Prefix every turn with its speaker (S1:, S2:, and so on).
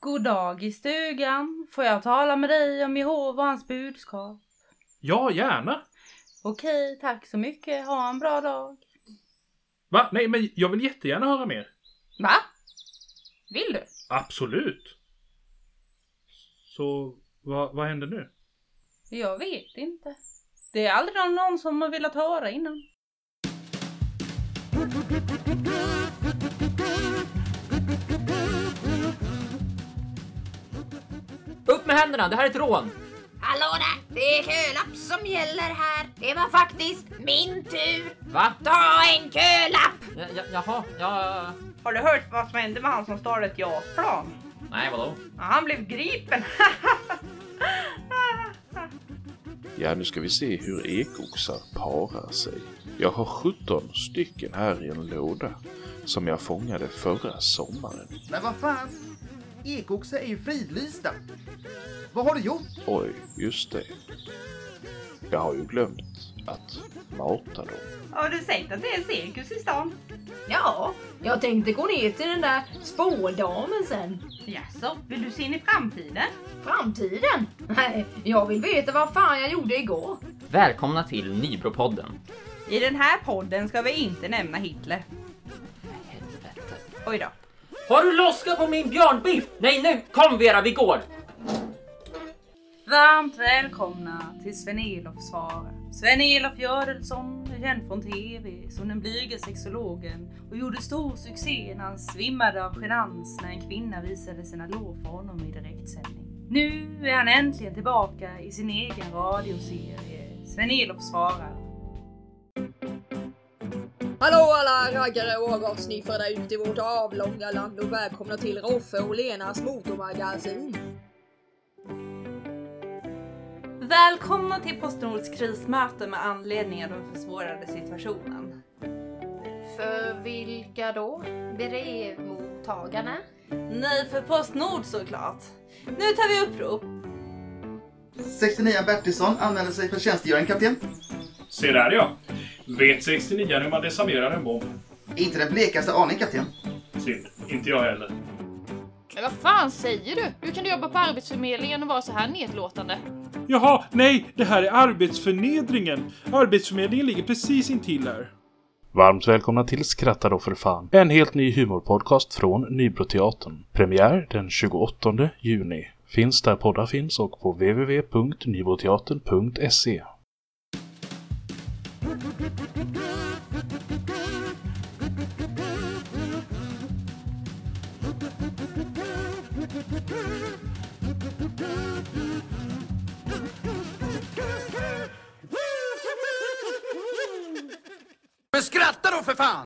S1: God dag i stugan. Får jag tala med dig om Jehova och hans budskap?
S2: Ja, gärna.
S1: Okej, tack så mycket. Ha en bra dag.
S2: Va? Nej, men jag vill jättegärna höra mer.
S1: Va? Vill du?
S2: Absolut. Så vad, vad händer nu?
S1: Jag vet inte. Det är aldrig någon- någon som har velat höra innan.
S3: Upp med händerna, det här är ett rån!
S4: Hallå där! Det är kölapp som gäller här. Det var faktiskt min tur.
S3: Va?
S4: Ta en kölapp!
S3: Ja, ja, jaha, ja...
S5: Har du hört vad som hände med han som stal ett JAS-plan?
S3: Nej, vadå?
S5: Ja, han blev gripen.
S6: Ja, nu ska vi se hur ekoxar parar sig. Jag har 17 stycken här i en låda som jag fångade förra sommaren.
S7: Men vad fan? Ekoxar är ju fridlysta. Vad har du gjort?
S6: Oj, just det. Jag har ju glömt att mata dem.
S5: Har du sett att det är cirkus i stan?
S4: Ja, jag tänkte gå ner till den där spådamen sen.
S5: Jaså, vill du se in i framtiden?
S4: Framtiden? Nej, jag vill veta vad fan jag gjorde igår.
S3: Välkomna till Nybropodden.
S5: I den här podden ska vi inte nämna Hitler. Oj då.
S3: Har du loskat på min björnbiff? Nej nu, kom Vera, vi går!
S1: Varmt välkomna till Sven-Elof svarar. Sven-Elof Göransson är känd från TV som den blyga sexologen och gjorde stor succé när han svimmade av genans när en kvinna visade sina lår för honom i direktsändning. Nu är han äntligen tillbaka i sin egen radioserie Sven-Elof svarar.
S8: Hallå alla raggare och avgassniffare där ute i vårt avlånga land och välkomna till Roffe och Lenas motormagasin.
S9: Välkomna till Postnords krismöte med anledning av den försvårade situationen.
S4: För vilka då? Brevmottagarna?
S9: Nej, för Postnord såklart. Nu tar vi upprop.
S7: 69 Bertilsson anmäler sig för tjänstgöring, kapten.
S2: Se där ja. Vet 69 hur man desarmerar en bomb?
S7: Inte den blekaste aning, kapten.
S2: Synd. Inte jag heller.
S10: Men vad fan säger du? Hur kan du jobba på Arbetsförmedlingen och vara så här nedlåtande?
S2: Jaha, nej, det här är arbetsförnedringen. Arbetsförmedlingen ligger precis intill här.
S6: Varmt välkomna till Skratta då för fan. En helt ny humorpodcast från Nybroteatern. Premiär den 28 juni. Finns där poddar finns och på www.nybroteatern.se.
S7: Men skratta då för fan!